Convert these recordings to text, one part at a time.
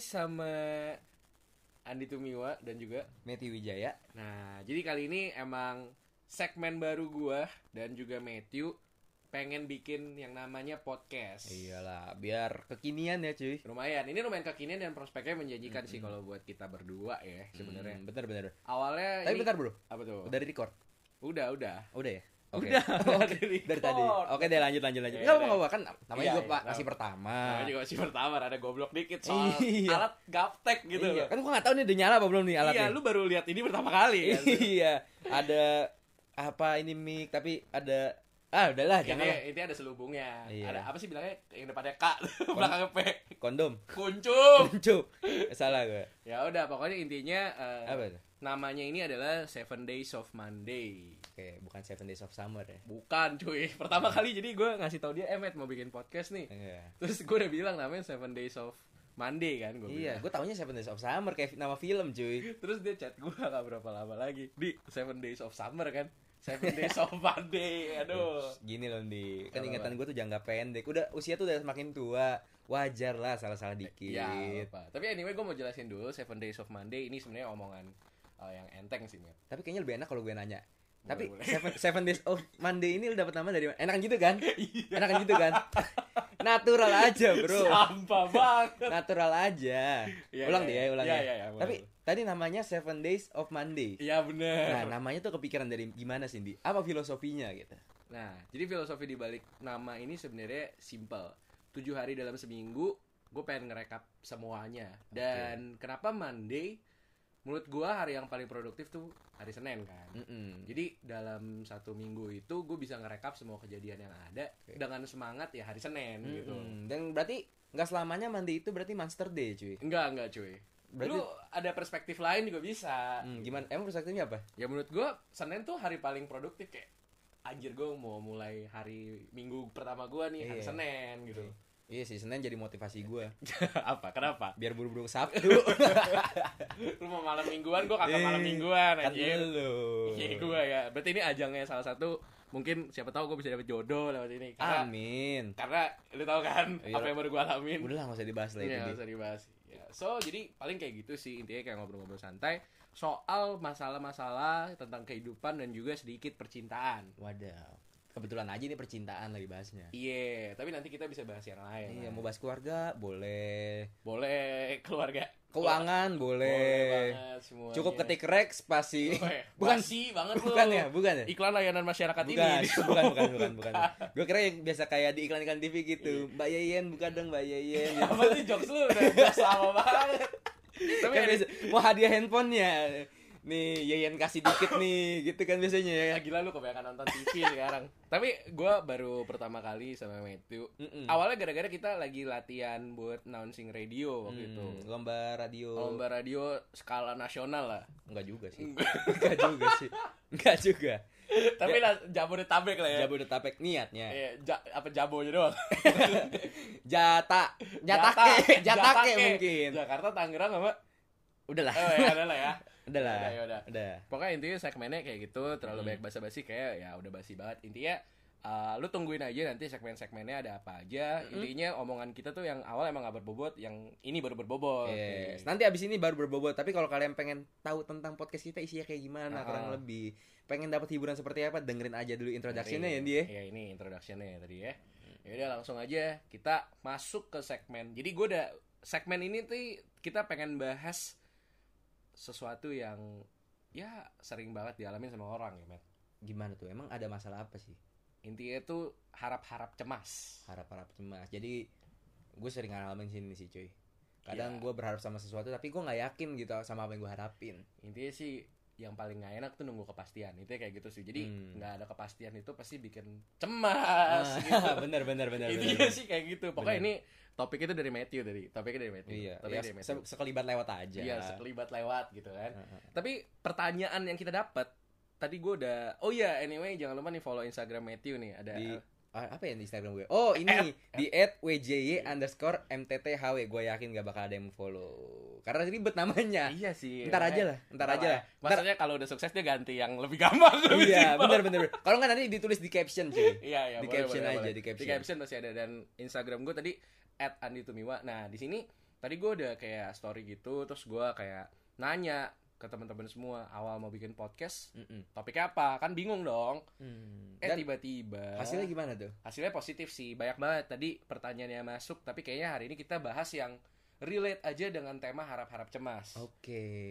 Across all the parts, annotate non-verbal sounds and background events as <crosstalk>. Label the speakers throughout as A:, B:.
A: sama Andi Tumiwa dan juga
B: Meti Wijaya.
A: Nah, jadi kali ini emang segmen baru gua dan juga Matthew pengen bikin yang namanya podcast.
B: Iyalah, biar kekinian ya cuy.
A: Lumayan. Ini lumayan kekinian dan prospeknya menjanjikan sih kalau buat kita berdua ya sebenarnya.
B: Hmm, bener bener.
A: Awalnya
B: Tapi
A: ini-
B: bentar bro,
A: Apa tuh?
B: udah di record.
A: Udah, udah.
B: Oh. Udah ya. Oke.
A: Udah, udah
B: <laughs> Oke,
A: di-record.
B: dari tadi. Oke deh lanjut lanjut lanjut.
A: Iya,
B: Enggak
A: iya.
B: apa-apa kan namanya
A: Iya,
B: juga
A: iya,
B: Pak
A: tahu.
B: masih pertama.
A: Namanya Nah, juga masih pertama ada goblok dikit soal
B: Iya.
A: alat gaptek gitu
B: Iya,
A: loh.
B: kan gua enggak tahu nih udah nyala apa belum nih alatnya.
A: Iya, lu baru lihat ini pertama kali kan.
B: iya, ada apa ini mic tapi ada ah udahlah
A: Ini,
B: <laughs> jangan lah.
A: ini ada selubungnya.
B: Iya.
A: Ada apa sih bilangnya yang depannya K, <laughs> belakangnya P.
B: kondom. <laughs>
A: Kuncung.
B: Cuk. Salah gua.
A: Ya udah, pokoknya intinya eh,
B: Apa itu?
A: namanya ini adalah Seven Days of Monday.
B: Oke, bukan Seven Days of Summer ya.
A: Bukan cuy, <laughs> pertama kali jadi gue ngasih tau dia, eh Matt, mau bikin podcast
B: <laughs>
A: nih
B: Iya.
A: Terus gue udah bilang namanya Seven Days of Monday kan gue
B: Iya, gue taunya Seven Days of Summer kayak nama film cuy.
A: Terus dia chat gue gak berapa lama lagi Di Seven Days of Summer kan Seven Days of Monday, aduh
B: Gini loh di kan
A: Apa,
B: ingatan gue tuh jangka pendek. Udah usia tuh udah semakin tua. Wajar lah salah-salah dikit.
A: Ya, apa. Tapi anyway gue mau jelasin dulu Seven Days of Monday ini sebenarnya omongan eh, yang enteng sih Matt
B: Tapi kayaknya lebih enak kalau gue nanya. Tapi
A: Boleh, boleh. <laughs>
B: seven, seven Days of Monday ini lu dapat nama dari mana? Enakan gitu kan?
A: Iya.
B: Enakan gitu
A: <laughs>
B: kan? Natural aja, Iya, Bro.
A: Sampah banget
B: Natural aja.
A: Iya,
B: ulang
A: iya,
B: deh ya,
A: iya.
B: ulang
A: Iya,
B: ya.
A: iya, iya, boleh,
B: Tapi tadi namanya Seven Days of Monday.
A: Iya bener
B: Nah, namanya tuh kepikiran dari gimana sih, Di? Apa filosofinya gitu?
A: Nah, jadi filosofi di balik nama ini sebenarnya simple. Tujuh hari dalam seminggu, gue pengen ngerekap semuanya. Dan kenapa Monday? Menurut gue hari yang paling produktif tuh hari Senin kan.
B: Mm-mm.
A: Jadi dalam satu minggu itu gue bisa ngerekap semua kejadian yang ada
B: Oke. Hmm,
A: dengan semangat ya hari Senin gitu.
B: Mm-mm. Dan berarti nggak selamanya mandi itu berarti Monster Day cuy.
A: Enggak, enggak cuy.
B: hmm. Berarti-
A: Lu ada perspektif lain juga bisa.
B: Hmm, gimana? Emang perspektifnya apa?
A: Ya menurut gue Senin tuh hari paling produktif kayak anjir gue mau mulai hari Minggu pertama gue nih hari
B: Iya.
A: Senin
B: <laughs>
A: gitu.
B: Iya sih Senin jadi motivasi
A: <laughs>
B: gue
A: apa kenapa
B: biar buru-buru Sabtu.
A: lu mau malam mingguan gua kagak malam mingguan
B: kan
A: anjir
B: lu.
A: Iya gua ya berarti ini ajangnya salah satu mungkin siapa tahu gua bisa dapet jodoh lewat ini karena
B: Amin.
A: karena lu tau kan
B: Iya.
A: apa yang baru gua alamin
B: Udah lah nggak usah dibahas lah itu.
A: Iya,
B: Di.
A: nggak usah dibahas. Ya, So, jadi paling kayak gitu sih intinya kayak ngobrol-ngobrol santai soal masalah-masalah tentang kehidupan dan juga sedikit percintaan.
B: Waduh. Kebetulan aja ini percintaan lagi bahasnya.
A: Iya, tapi nanti kita bisa bahas yang lain.
B: Iya, mau bahas keluarga boleh.
A: Boleh keluarga.
B: Keuangan boleh.
A: banget Iya. semuanya.
B: Cukup ketik rek spasi.
A: Weh,
B: <laughs> bukan
A: basi banget lu.
B: Bukan ya, bukan ya.
A: Iklan layanan masyarakat
B: Bukan,
A: ini.
B: bukan, bukan, bukan, bukan. Gue kira yang biasa kayak di iklan-iklan TV
A: Iya.
B: gitu. Mbak Yeyen, bukan dong Mbak Yeyen. gitu.
A: <laughs> Apa sih jokes lu udah jokes lama banget. Tapi
B: kan
A: ada
B: biasa, mau hadiah handphonenya nih Yayan kasih dikit nih gitu kan biasanya ya
A: ya gila lu kebanyakan nonton TV sekarang. Tapi gua baru pertama kali sama Matthew.
B: Mm-mm.
A: Awalnya gara-gara kita lagi latihan buat announcing radio waktu itu.
B: Hmm, lomba radio
A: Oh, gitu. Lomba radio skala nasional
B: <laughs>
A: lah.
B: enggak juga sih <laughs> enggak juga sih enggak juga
A: Tapi lah Jabodetabek lah ya.
B: Jabodetabek niatnya
A: Iya, ja- apa jabonya doang.
B: jata
A: Jatake,
B: jatake <laughs> jatake
A: Jatake.
B: mungkin
A: Jakarta, Tangerang sama
B: udahlah
A: Oh ya, ada lah ya.
B: udah lah Hmm.
A: Udah, ya udah.
B: udah
A: Pokoknya intinya segmennya kayak gitu, terlalu banyak basa-basi kayak ya udah basi banget. Intinya eh, lu tungguin aja nanti segmen-segmennya ada apa aja.
B: Hmm.
A: Intinya omongan kita tuh yang awal emang gak berbobot, yang ini baru berbobot. gitu.
B: Yes. Nanti abis ini baru berbobot. Tapi kalau kalian pengen tahu tentang podcast kita isinya kayak gimana
A: Ah.
B: kurang lebih, pengen dapat hiburan seperti apa, dengerin aja dulu introductionnya ya dia.
A: Iya, ini introductionnya ya tadi ya. Ya udah langsung aja kita masuk ke segmen. Jadi gue udah segmen ini tuh kita pengen bahas sesuatu yang ya sering banget dialamin sama orang ya, Matt.
B: Gimana tuh? Emang ada masalah apa sih?
A: Intinya tuh harap-harap cemas.
B: harap-harap cemas jadi gue sering ngalamin sini sih cuy
A: Ya.
B: kadang gue berharap sama sesuatu tapi gue nggak yakin gitu sama apa yang gue harapin
A: intinya sih yang paling gak enak tuh nunggu kepastian itu kayak gitu sih jadi
B: Hmm. Ah.
A: nggak ada kepastian itu pasti bikin
B: <laughs>
A: cemas gitu.
B: bener bener bener
A: intinya
B: bener
A: sih kayak gitu pokoknya ini
B: Bener.
A: topik itu dari Matthew tadi topiknya dari Matthew
B: iya
A: topiknya
B: ya,
A: dari Matthew
B: se- sekelibat lewat aja
A: iya sekelibat lewat gitu kan
B: Heeh.
A: tapi pertanyaan yang kita dapat tadi gue udah oh iya anyway jangan lupa nih follow Instagram Matthew nih ada
B: di ah, apa ya di Instagram gue oh ini di at wjy underscore mtthw gue yakin gak bakal ada yang follow karena ribet namanya
A: iya sih
B: Ntar
A: makanya-
B: aja lah, ntar aja lah. Ntar-
A: maksudnya kalau udah sukses dia ganti yang lebih <laughs> gampang lebih
B: iya
A: simpel.
B: bener bener bener. kalau nggak nanti ditulis di caption cuy
A: Iya, iya,
B: Di
A: boleh,
B: caption
A: boleh,
B: aja,
A: boleh.
B: di caption.
A: masih ada dan Instagram gue tadi @anditumiwa. Nah, di sini tadi gue udah kayak story gitu terus gue kayak nanya ke teman-teman semua awal mau bikin podcast
B: Mm-mm.
A: topiknya apa kan bingung dong
B: Hmm.
A: eh
B: Dan
A: tiba-tiba
B: hasilnya gimana tuh?
A: hasilnya positif sih banyak banget tadi pertanyaannya masuk tapi kayaknya hari ini kita bahas yang relate aja dengan tema harap-harap cemas
B: Oke.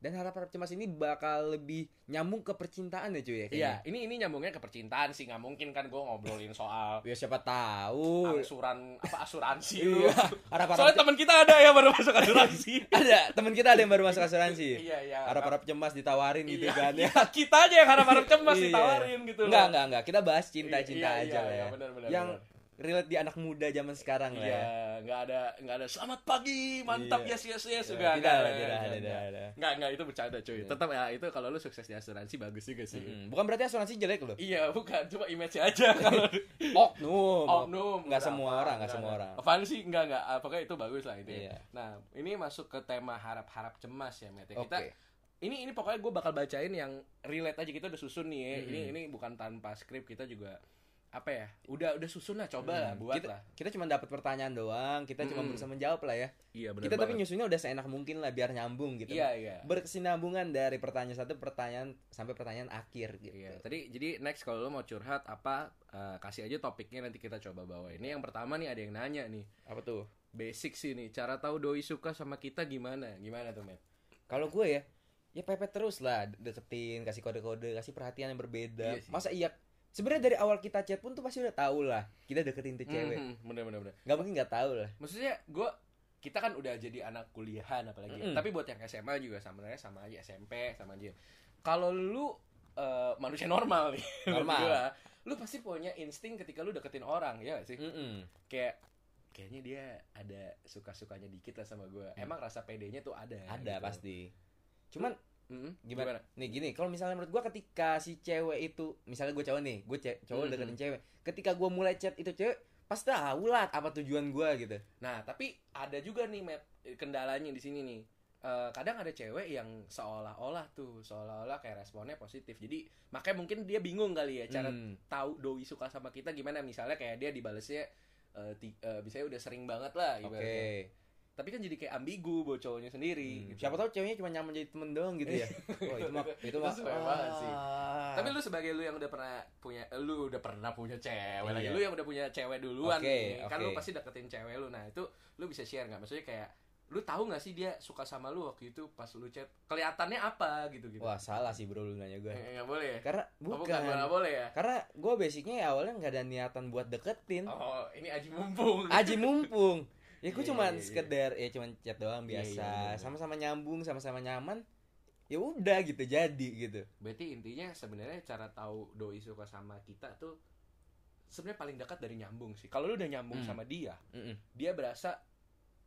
B: Dan harap-harap cemas ini bakal lebih nyambung ke percintaan ya cuy ya kayaknya.
A: Iya, ini ini nyambungnya ke percintaan sih, nggak mungkin kan gue ngobrolin soal
B: Ya siapa tahu.
A: angsuran apa asuransi lu.
B: Iya, harap-harap
A: Soalnya teman kita ada yang baru masuk asuransi.
B: ada teman kita ada yang baru masuk asuransi.
A: iya, iya.
B: Harap-harap cemas ditawarin gitu
A: Iya,
B: kan ya.
A: kita, kita aja yang harap-harap cemas
B: Iya.
A: ditawarin gitu. loh.
B: Enggak, enggak, enggak. Kita bahas cinta-cinta
A: Iya, iya,
B: aja lah
A: iya,
B: ya.
A: benar, benar,
B: Yang
A: benar.
B: relate di anak muda zaman sekarang lah
A: Iya,
B: ya.
A: nggak ada nggak ada selamat pagi, mantap
B: Iya.
A: yes yes yes
B: Iya,
A: juga.
B: tidak
A: nggak,
B: ada,
A: nggak,
B: tidak
A: nggak,
B: ada,
A: nggak.
B: tidak ada.
A: Nggak, nggak, itu bercanda cuy.
B: Iya.
A: Tetap ya itu kalau lu sukses di asuransi bagus juga sih.
B: Mm-mm. Hmm. Bukan berarti asuransi jelek loh.
A: Iya, bukan cuma image aja <laughs> kalau
B: Oknum.
A: oknum
B: Nggak
A: berapa,
B: semua orang, nggak semua
A: ada.
B: orang.
A: apaan sih nggak nggak ah, pokoknya itu bagus lah itu
B: Iya.
A: nah ini masuk ke tema harap-harap cemas ya Matt ya.
B: Oke.
A: kita ini ini pokoknya gue bakal bacain yang relate aja kita udah susun nih ya.
B: Mm-mm.
A: ini ini bukan tanpa skrip kita juga apa ya udah udah susun lah coba lah
B: Hmm,
A: buat
B: kita,
A: lah Hmm.
B: Kita cuma dapat pertanyaan doang, kita cuma
A: Mm-mm.
B: berusaha menjawab lah ya.
A: iya benar
B: kita tapi nyusunnya udah seenak mungkin lah biar nyambung gitu.
A: iya iya
B: Berkesinambungan dari pertanyaan satu pertanyaan sampai pertanyaan akhir gitu.
A: Iya, tadi jadi next kalau lo mau curhat apa eh, kasih aja topiknya nanti kita coba bawa. Ini yang pertama nih ada yang nanya nih.
B: Apa tuh?
A: Basic sih nih, cara tahu doi suka sama kita gimana? Gimana tuh, Matt?
B: Kalau gue ya, ya pepet terus lah, deketin, kasih kode-kode, kasih perhatian yang berbeda.
A: Iya sih.
B: Masa iya Sebenarnya dari awal kita chat pun tuh pasti udah tahu lah kita deketin tuh cewek.
A: Mhm, bener bener bener.
B: Gak mungkin gak tahu lah.
A: maksudnya gue kita kan udah jadi anak kuliahan apalagi ya.
B: Mm-mm.
A: tapi buat yang SMA juga sebenarnya sama aja SMP sama aja kalau lu eh, manusia normal nih <laughs>
B: Normal.
A: menurut gua, lu pasti punya insting ketika lu deketin orang ya nggak
B: Mhm.
A: sih kayak kayaknya dia ada suka sukanya dikit lah sama gue emang rasa pedenya tuh ada
B: Mhm. Ada
A: gitu. Mhm.
B: pasti. Cuman
A: Mm-mm.
B: Gimana? nih gini kalau misalnya menurut gua ketika si cewek itu misalnya gue cowok nih gue cowok
A: Mhm.
B: deketin cewek ketika gua mulai chat itu cewek pasti tahu lah apa tujuan gua gitu
A: nah tapi ada juga nih Matt, kendalanya di sini nih Eh, kadang ada cewek yang seolah-olah tuh seolah-olah kayak responnya positif jadi makanya mungkin dia bingung kali ya cara
B: Hmm.
A: tahu doi suka sama kita gimana misalnya kayak dia dibalesnya eh ti- eh, misalnya udah sering banget lah
B: oke
A: ibaratnya. tapi kan jadi kayak ambigu buat cowoknya sendiri
B: Hmm.
A: gitu.
B: siapa tahu ceweknya cuma nyaman jadi temen doang gitu <laughs> ya oh itu
A: <laughs>
B: mah itu
A: Iya. Itu
B: mah
A: sesuai banget sih.
B: Ah.
A: tapi lu sebagai lu yang udah pernah punya eh, lu udah pernah punya cewek lagi
B: Iya.
A: lu yang udah punya cewek duluan
B: Oke,
A: nih. kan lu
B: oke.
A: pasti deketin cewek lu nah itu lu bisa share nggak maksudnya kayak lu tahu nggak sih dia suka sama lu waktu itu pas lu chat kelihatannya apa gitu gitu
B: wah salah sih bro lu nanya gue
A: Eh, nggak boleh ya?
B: karena
A: Oh,
B: bukan,
A: nggak boleh ya
B: karena gue basicnya ya awalnya nggak ada niatan buat deketin
A: oh ini aji mumpung <laughs>
B: aji mumpung ya gue
A: Iya,
B: cuman
A: iya, iya.
B: sekedar ya cuman chat doang
A: Iya, iya, iya,
B: biasa
A: iya.
B: sama-sama nyambung sama-sama nyaman ya udah gitu jadi gitu
A: Berarti intinya sebenarnya cara tahu doi suka sama kita tuh sebenarnya paling dekat dari nyambung sih. Kalau lu udah nyambung
B: Hmm.
A: sama dia,
B: Mm-mm.
A: dia berasa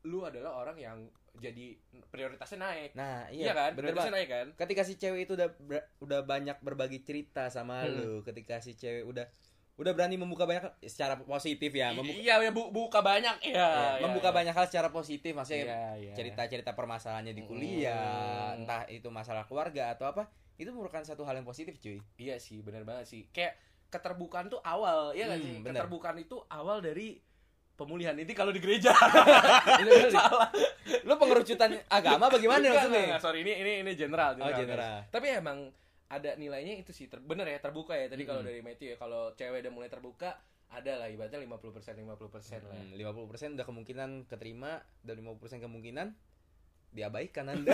A: lu adalah orang yang jadi prioritasnya naik.
B: nah
A: Iya
B: iya,
A: kan?
B: bener
A: prioritasnya
B: banget
A: naik kan?
B: ketika si cewek itu udah ber- udah banyak berbagi cerita sama
A: Mm-mm.
B: lu ketika si cewek udah udah berani membuka banyak secara positif ya, membuka
A: iya, ya bu- buka banyak ya.
B: ya,
A: ya,
B: membuka
A: ya.
B: banyak hal secara positif maksudnya
A: Iya, iya.
B: cerita-cerita permasalahannya di
A: Mm.
B: kuliah entah itu masalah keluarga atau apa itu merupakan satu hal yang positif cuy
A: Iya sih, benar banget sih. Kayak keterbukaan tuh awal, ya kan
B: Hmm,
A: sih?
B: bener.
A: Keterbukaan itu awal dari pemulihan inti kalau di
B: <laughs>
A: gereja.
B: Lu- lu- lu pengerucutan <laughs> agama bagaimana
A: Enggak, enggak,
B: maksudnya
A: enggak, sorry ini ini ini general.
B: oh general
A: tapi emang ada nilainya itu sih ter- bener ya terbuka ya tadi kalau
B: Mm-mm.
A: dari Matthew ya kalau cewek udah mulai terbuka ada lah ibaratnya 50% 50% lah ya.
B: Hmm, 50% udah kemungkinan keterima dan 50% kemungkinan diabaikan
A: <laughs>
B: Anda.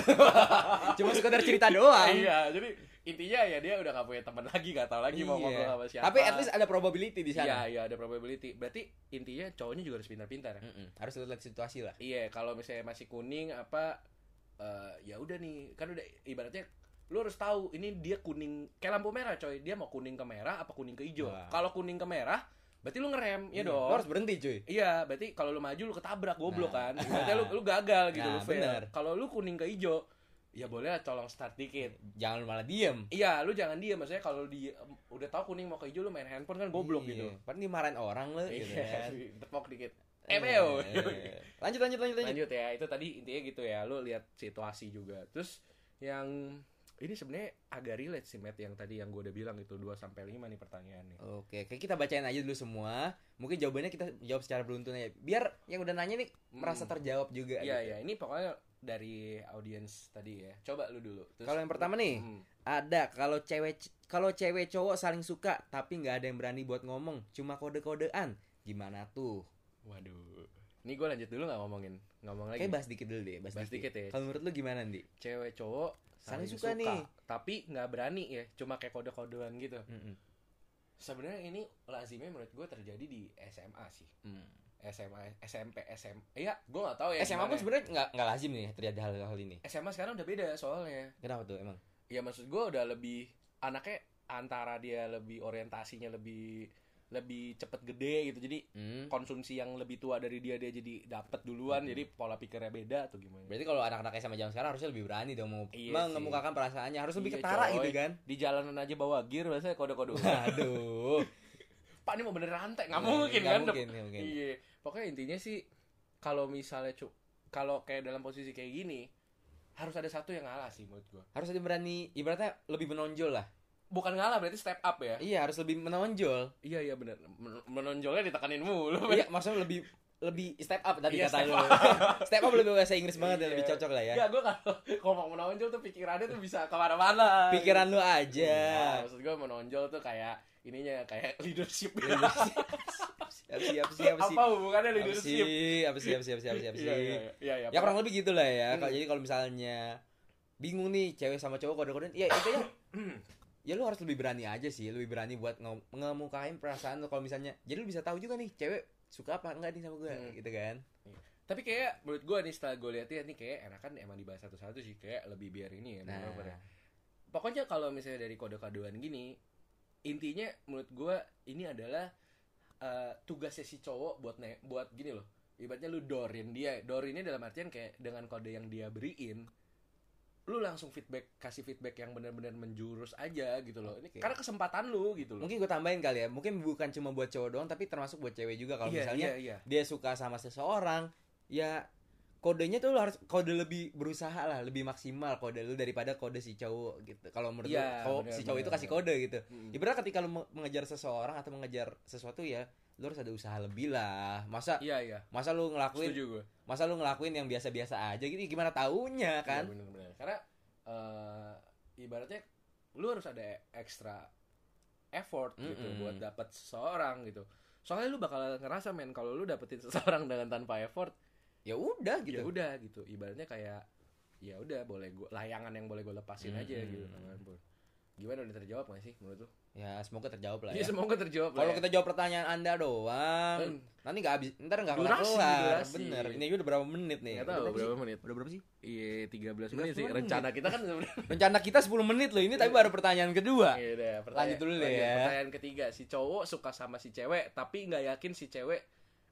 B: Cuma sekedar cerita doang.
A: iya jadi intinya ya dia udah gak punya teman lagi gak tahu lagi mau
B: Iya.
A: ngobrol sama siapa
B: Tapi at least ada probability di
A: iya
B: sana.
A: iya ada probability berarti intinya cowoknya juga harus pintar-pintar ya
B: Mm-mm, Harus lihat situasi lah.
A: iya kalau misalnya masih kuning apa eh, ya udah nih kan udah ibaratnya lu harus tahu ini dia kuning kayak lampu merah coy dia mau kuning ke merah apa kuning ke hijau
B: Wah.
A: kalau kuning ke merah berarti lu ngerem ya
B: Nah. Iya,
A: dong
B: Lu harus berhenti, cuy.
A: Iya, berarti kalau lu maju lu ketabrak goblok kan.
B: Nah.
A: Berarti lu lu gagal gitu
B: Nah,
A: lu fail.
B: bener.
A: Kalau lu kuning ke hijau, ya boleh lah colong start dikit.
B: Jangan lu malah diem.
A: Iya, lu jangan dia maksudnya kalau di udah tahu kuning mau ke hijau lu main handphone kan goblok
B: Iya,
A: gitu.
B: Padahal dimarahin orang lu gitu
A: <laughs> Iya,
B: kan.
A: tepok dikit.
B: Eh,
A: Emeo.
B: Lanjut lanjut lanjut lanjut.
A: Lanjut ya, itu tadi intinya gitu ya. Lu lihat situasi juga. Terus yang ini sebenarnya agak relate sih Matt yang tadi yang gue udah bilang itu 2 sampai 5 nih pertanyaannya.
B: Oke, kayak kita bacain aja dulu semua. Mungkin jawabannya kita jawab secara beruntun aja. Biar yang udah nanya nih merasa
A: Hmm.
B: terjawab juga.
A: Iya
B: gitu.
A: iya, ini pokoknya dari audiens tadi ya. Coba lu dulu. Terus-
B: Kalau yang pertama nih,
A: Hmm.
B: ada kalau cewek kalau cewek cowok saling suka tapi nggak ada yang berani buat ngomong, cuma kode-kodean. Gimana tuh?
A: Waduh. Ini gue lanjut dulu nggak ngomongin, ngomong lagi.
B: Kayak bahas dikit dulu deh, bahas,
A: Bahas dikit
B: dikit.
A: ya.
B: Kalau menurut lu gimana, Di?
A: Cewek cowok
B: Saling suka nih.
A: tapi nggak berani ya, cuma kayak kode-kodean gitu.
B: Mm-mm.
A: Sebenarnya ini lazimnya menurut gue terjadi di SMA sih.
B: Hmm.
A: SMA, SMP, SMA. Iya, gue nggak tahu ya.
B: SMA pun
A: gimana.
B: sebenarnya nggak nggak lazim nih terjadi hal-hal ini.
A: SMA sekarang udah beda soalnya.
B: Kenapa tuh emang?
A: Ya maksud gue udah lebih anaknya antara dia lebih orientasinya lebih lebih cepet gede gitu. Jadi
B: Hmm.
A: konsumsi yang lebih tua dari dia dia jadi dapat duluan
B: Hmm.
A: jadi pola pikirnya beda atau gimana
B: Berarti kalau anak-anak SMA zaman sekarang harusnya lebih berani dong mau
A: Iya
B: mengemukakan perasaannya, harus
A: Iya,
B: lebih ketara
A: coy.
B: gitu kan.
A: di jalanan aja bawa gear biasanya
B: <laughs>
A: kode-kode
B: Waduh.
A: pak ini mau bener rantai nggak mungkin
B: Nah, Nggak
A: kan
B: mungkin, nggak mungkin.
A: iya pokoknya intinya sih kalau misalnya cu kalau kayak dalam posisi kayak gini harus ada satu yang ngalah sih menurut gua
B: Harus ada berani, ibaratnya lebih menonjol lah.
A: bukan ngalah berarti step up ya
B: Iya, harus lebih menonjol.
A: iya iya bener Men- menonjolnya ditekanin mulu
B: iya, maksudnya lebih lebih step up tadi
A: Iya,
B: kata
A: step
B: lu. step up lebih bahasa Inggris banget ya,
A: Iya.
B: lebih cocok lah ya.
A: ya gua kalau <laughs> kalau mau menonjol tuh pikirannya tuh bisa kemana-mana
B: Pikiran lu
A: Iya,
B: aja.
A: maksud gua menonjol tuh kayak ininya kayak <laughs> leadership
B: Siap siap siap siap.
A: apa hubungannya
B: Apa sih?
A: leadership
B: Apa sih? Apa sih? Apa sih? Apa sih? Apa
A: Iya,
B: sih?
A: iya, iya, iya,
B: Ya
A: paham.
B: kurang lebih gitulah ya. Kalau
A: Hmm.
B: jadi kalau misalnya bingung nih cewek sama cowok kode-kodean, ya
A: <coughs>
B: intinya ya lu harus lebih berani aja sih, lebih berani buat nge- ngemukain perasaan lu kalau misalnya. Jadi lu bisa tahu juga nih cewek suka apa enggak nih sama gue
A: Hmm.
B: gitu kan.
A: Tapi kayak menurut gue nih setelah gue lihat ya nih kayak enakan emang dibahas satu-satu sih kayak lebih biar ini ya.
B: Nah,
A: bener-bener. Pokoknya kalau misalnya dari kode-kodean gini intinya menurut gue ini adalah eh, tugasnya si cowok buat ne buat gini loh. Ibaratnya lu dorin dia, dorinnya dalam artian kayak dengan kode yang dia beriin lu langsung feedback kasih feedback yang benar-benar menjurus aja gitu loh. Ini
B: Oke.
A: karena kesempatan lu gitu loh.
B: mungkin gue tambahin kali ya. Mungkin bukan cuma buat cowok doang tapi termasuk buat cewek juga kalau
A: Iya,
B: misalnya
A: iya, iya.
B: dia suka sama seseorang, ya kodenya tuh lu harus kode lebih berusaha lah, lebih maksimal kode lu daripada kode si cowok gitu. Kalau menurut lu,
A: Iya,
B: cowok-
A: bener,
B: si cowok
A: bener,
B: itu kasih kode gitu.
A: Mm.
B: Ibarat ketika lu me- mengejar seseorang atau mengejar sesuatu ya, lu harus ada usaha lebih lah. Masa
A: Iya, iya.
B: masa lu ngelakuin
A: Setuju gue.
B: masa lu ngelakuin yang biasa-biasa aja gitu gimana taunya
A: Iya,
B: kan?
A: bener-bener. Karena eh, ibaratnya lu harus ada extra effort gitu
B: Mm-mm.
A: buat dapat seseorang gitu. Soalnya lu bakal ngerasa men kalau lu dapetin <laughs> seseorang dengan tanpa effort,
B: Ya udah
A: gitu. ya
B: gitu.
A: udah gitu. Ibaratnya kayak ya udah boleh gua layangan yang boleh gue lepasin aja
B: Mm-mm.
A: gitu. Gimana udah terjawab gak sih menurut lu?
B: Ya, semoga terjawab lah
A: <laughs> Iya,
B: ya.
A: semoga terjawab lah
B: Kalau
A: ya.
B: kita jawab pertanyaan Anda doang,
A: Hmm.
B: nanti nggak habis, ntar nggak kelar
A: Durasi,
B: kelar.
A: durasi.
B: Bener. Ini udah berapa menit nih?
A: Nggak tahu
B: Udah
A: berapa
B: sih?
A: menit.
B: Udah berapa sih?
A: Iya, 13 menit sih.
B: 13 menit.
A: Rencana kita kan sebenarnya
B: Rencana kita 10 menit loh ini tapi baru pertanyaan kedua.
A: Iya udah, pertanyaan-
B: Lanjut dulu deh
A: lanjut.
B: ya.
A: Pertanyaan ketiga, si cowok suka sama si cewek tapi nggak yakin si cewek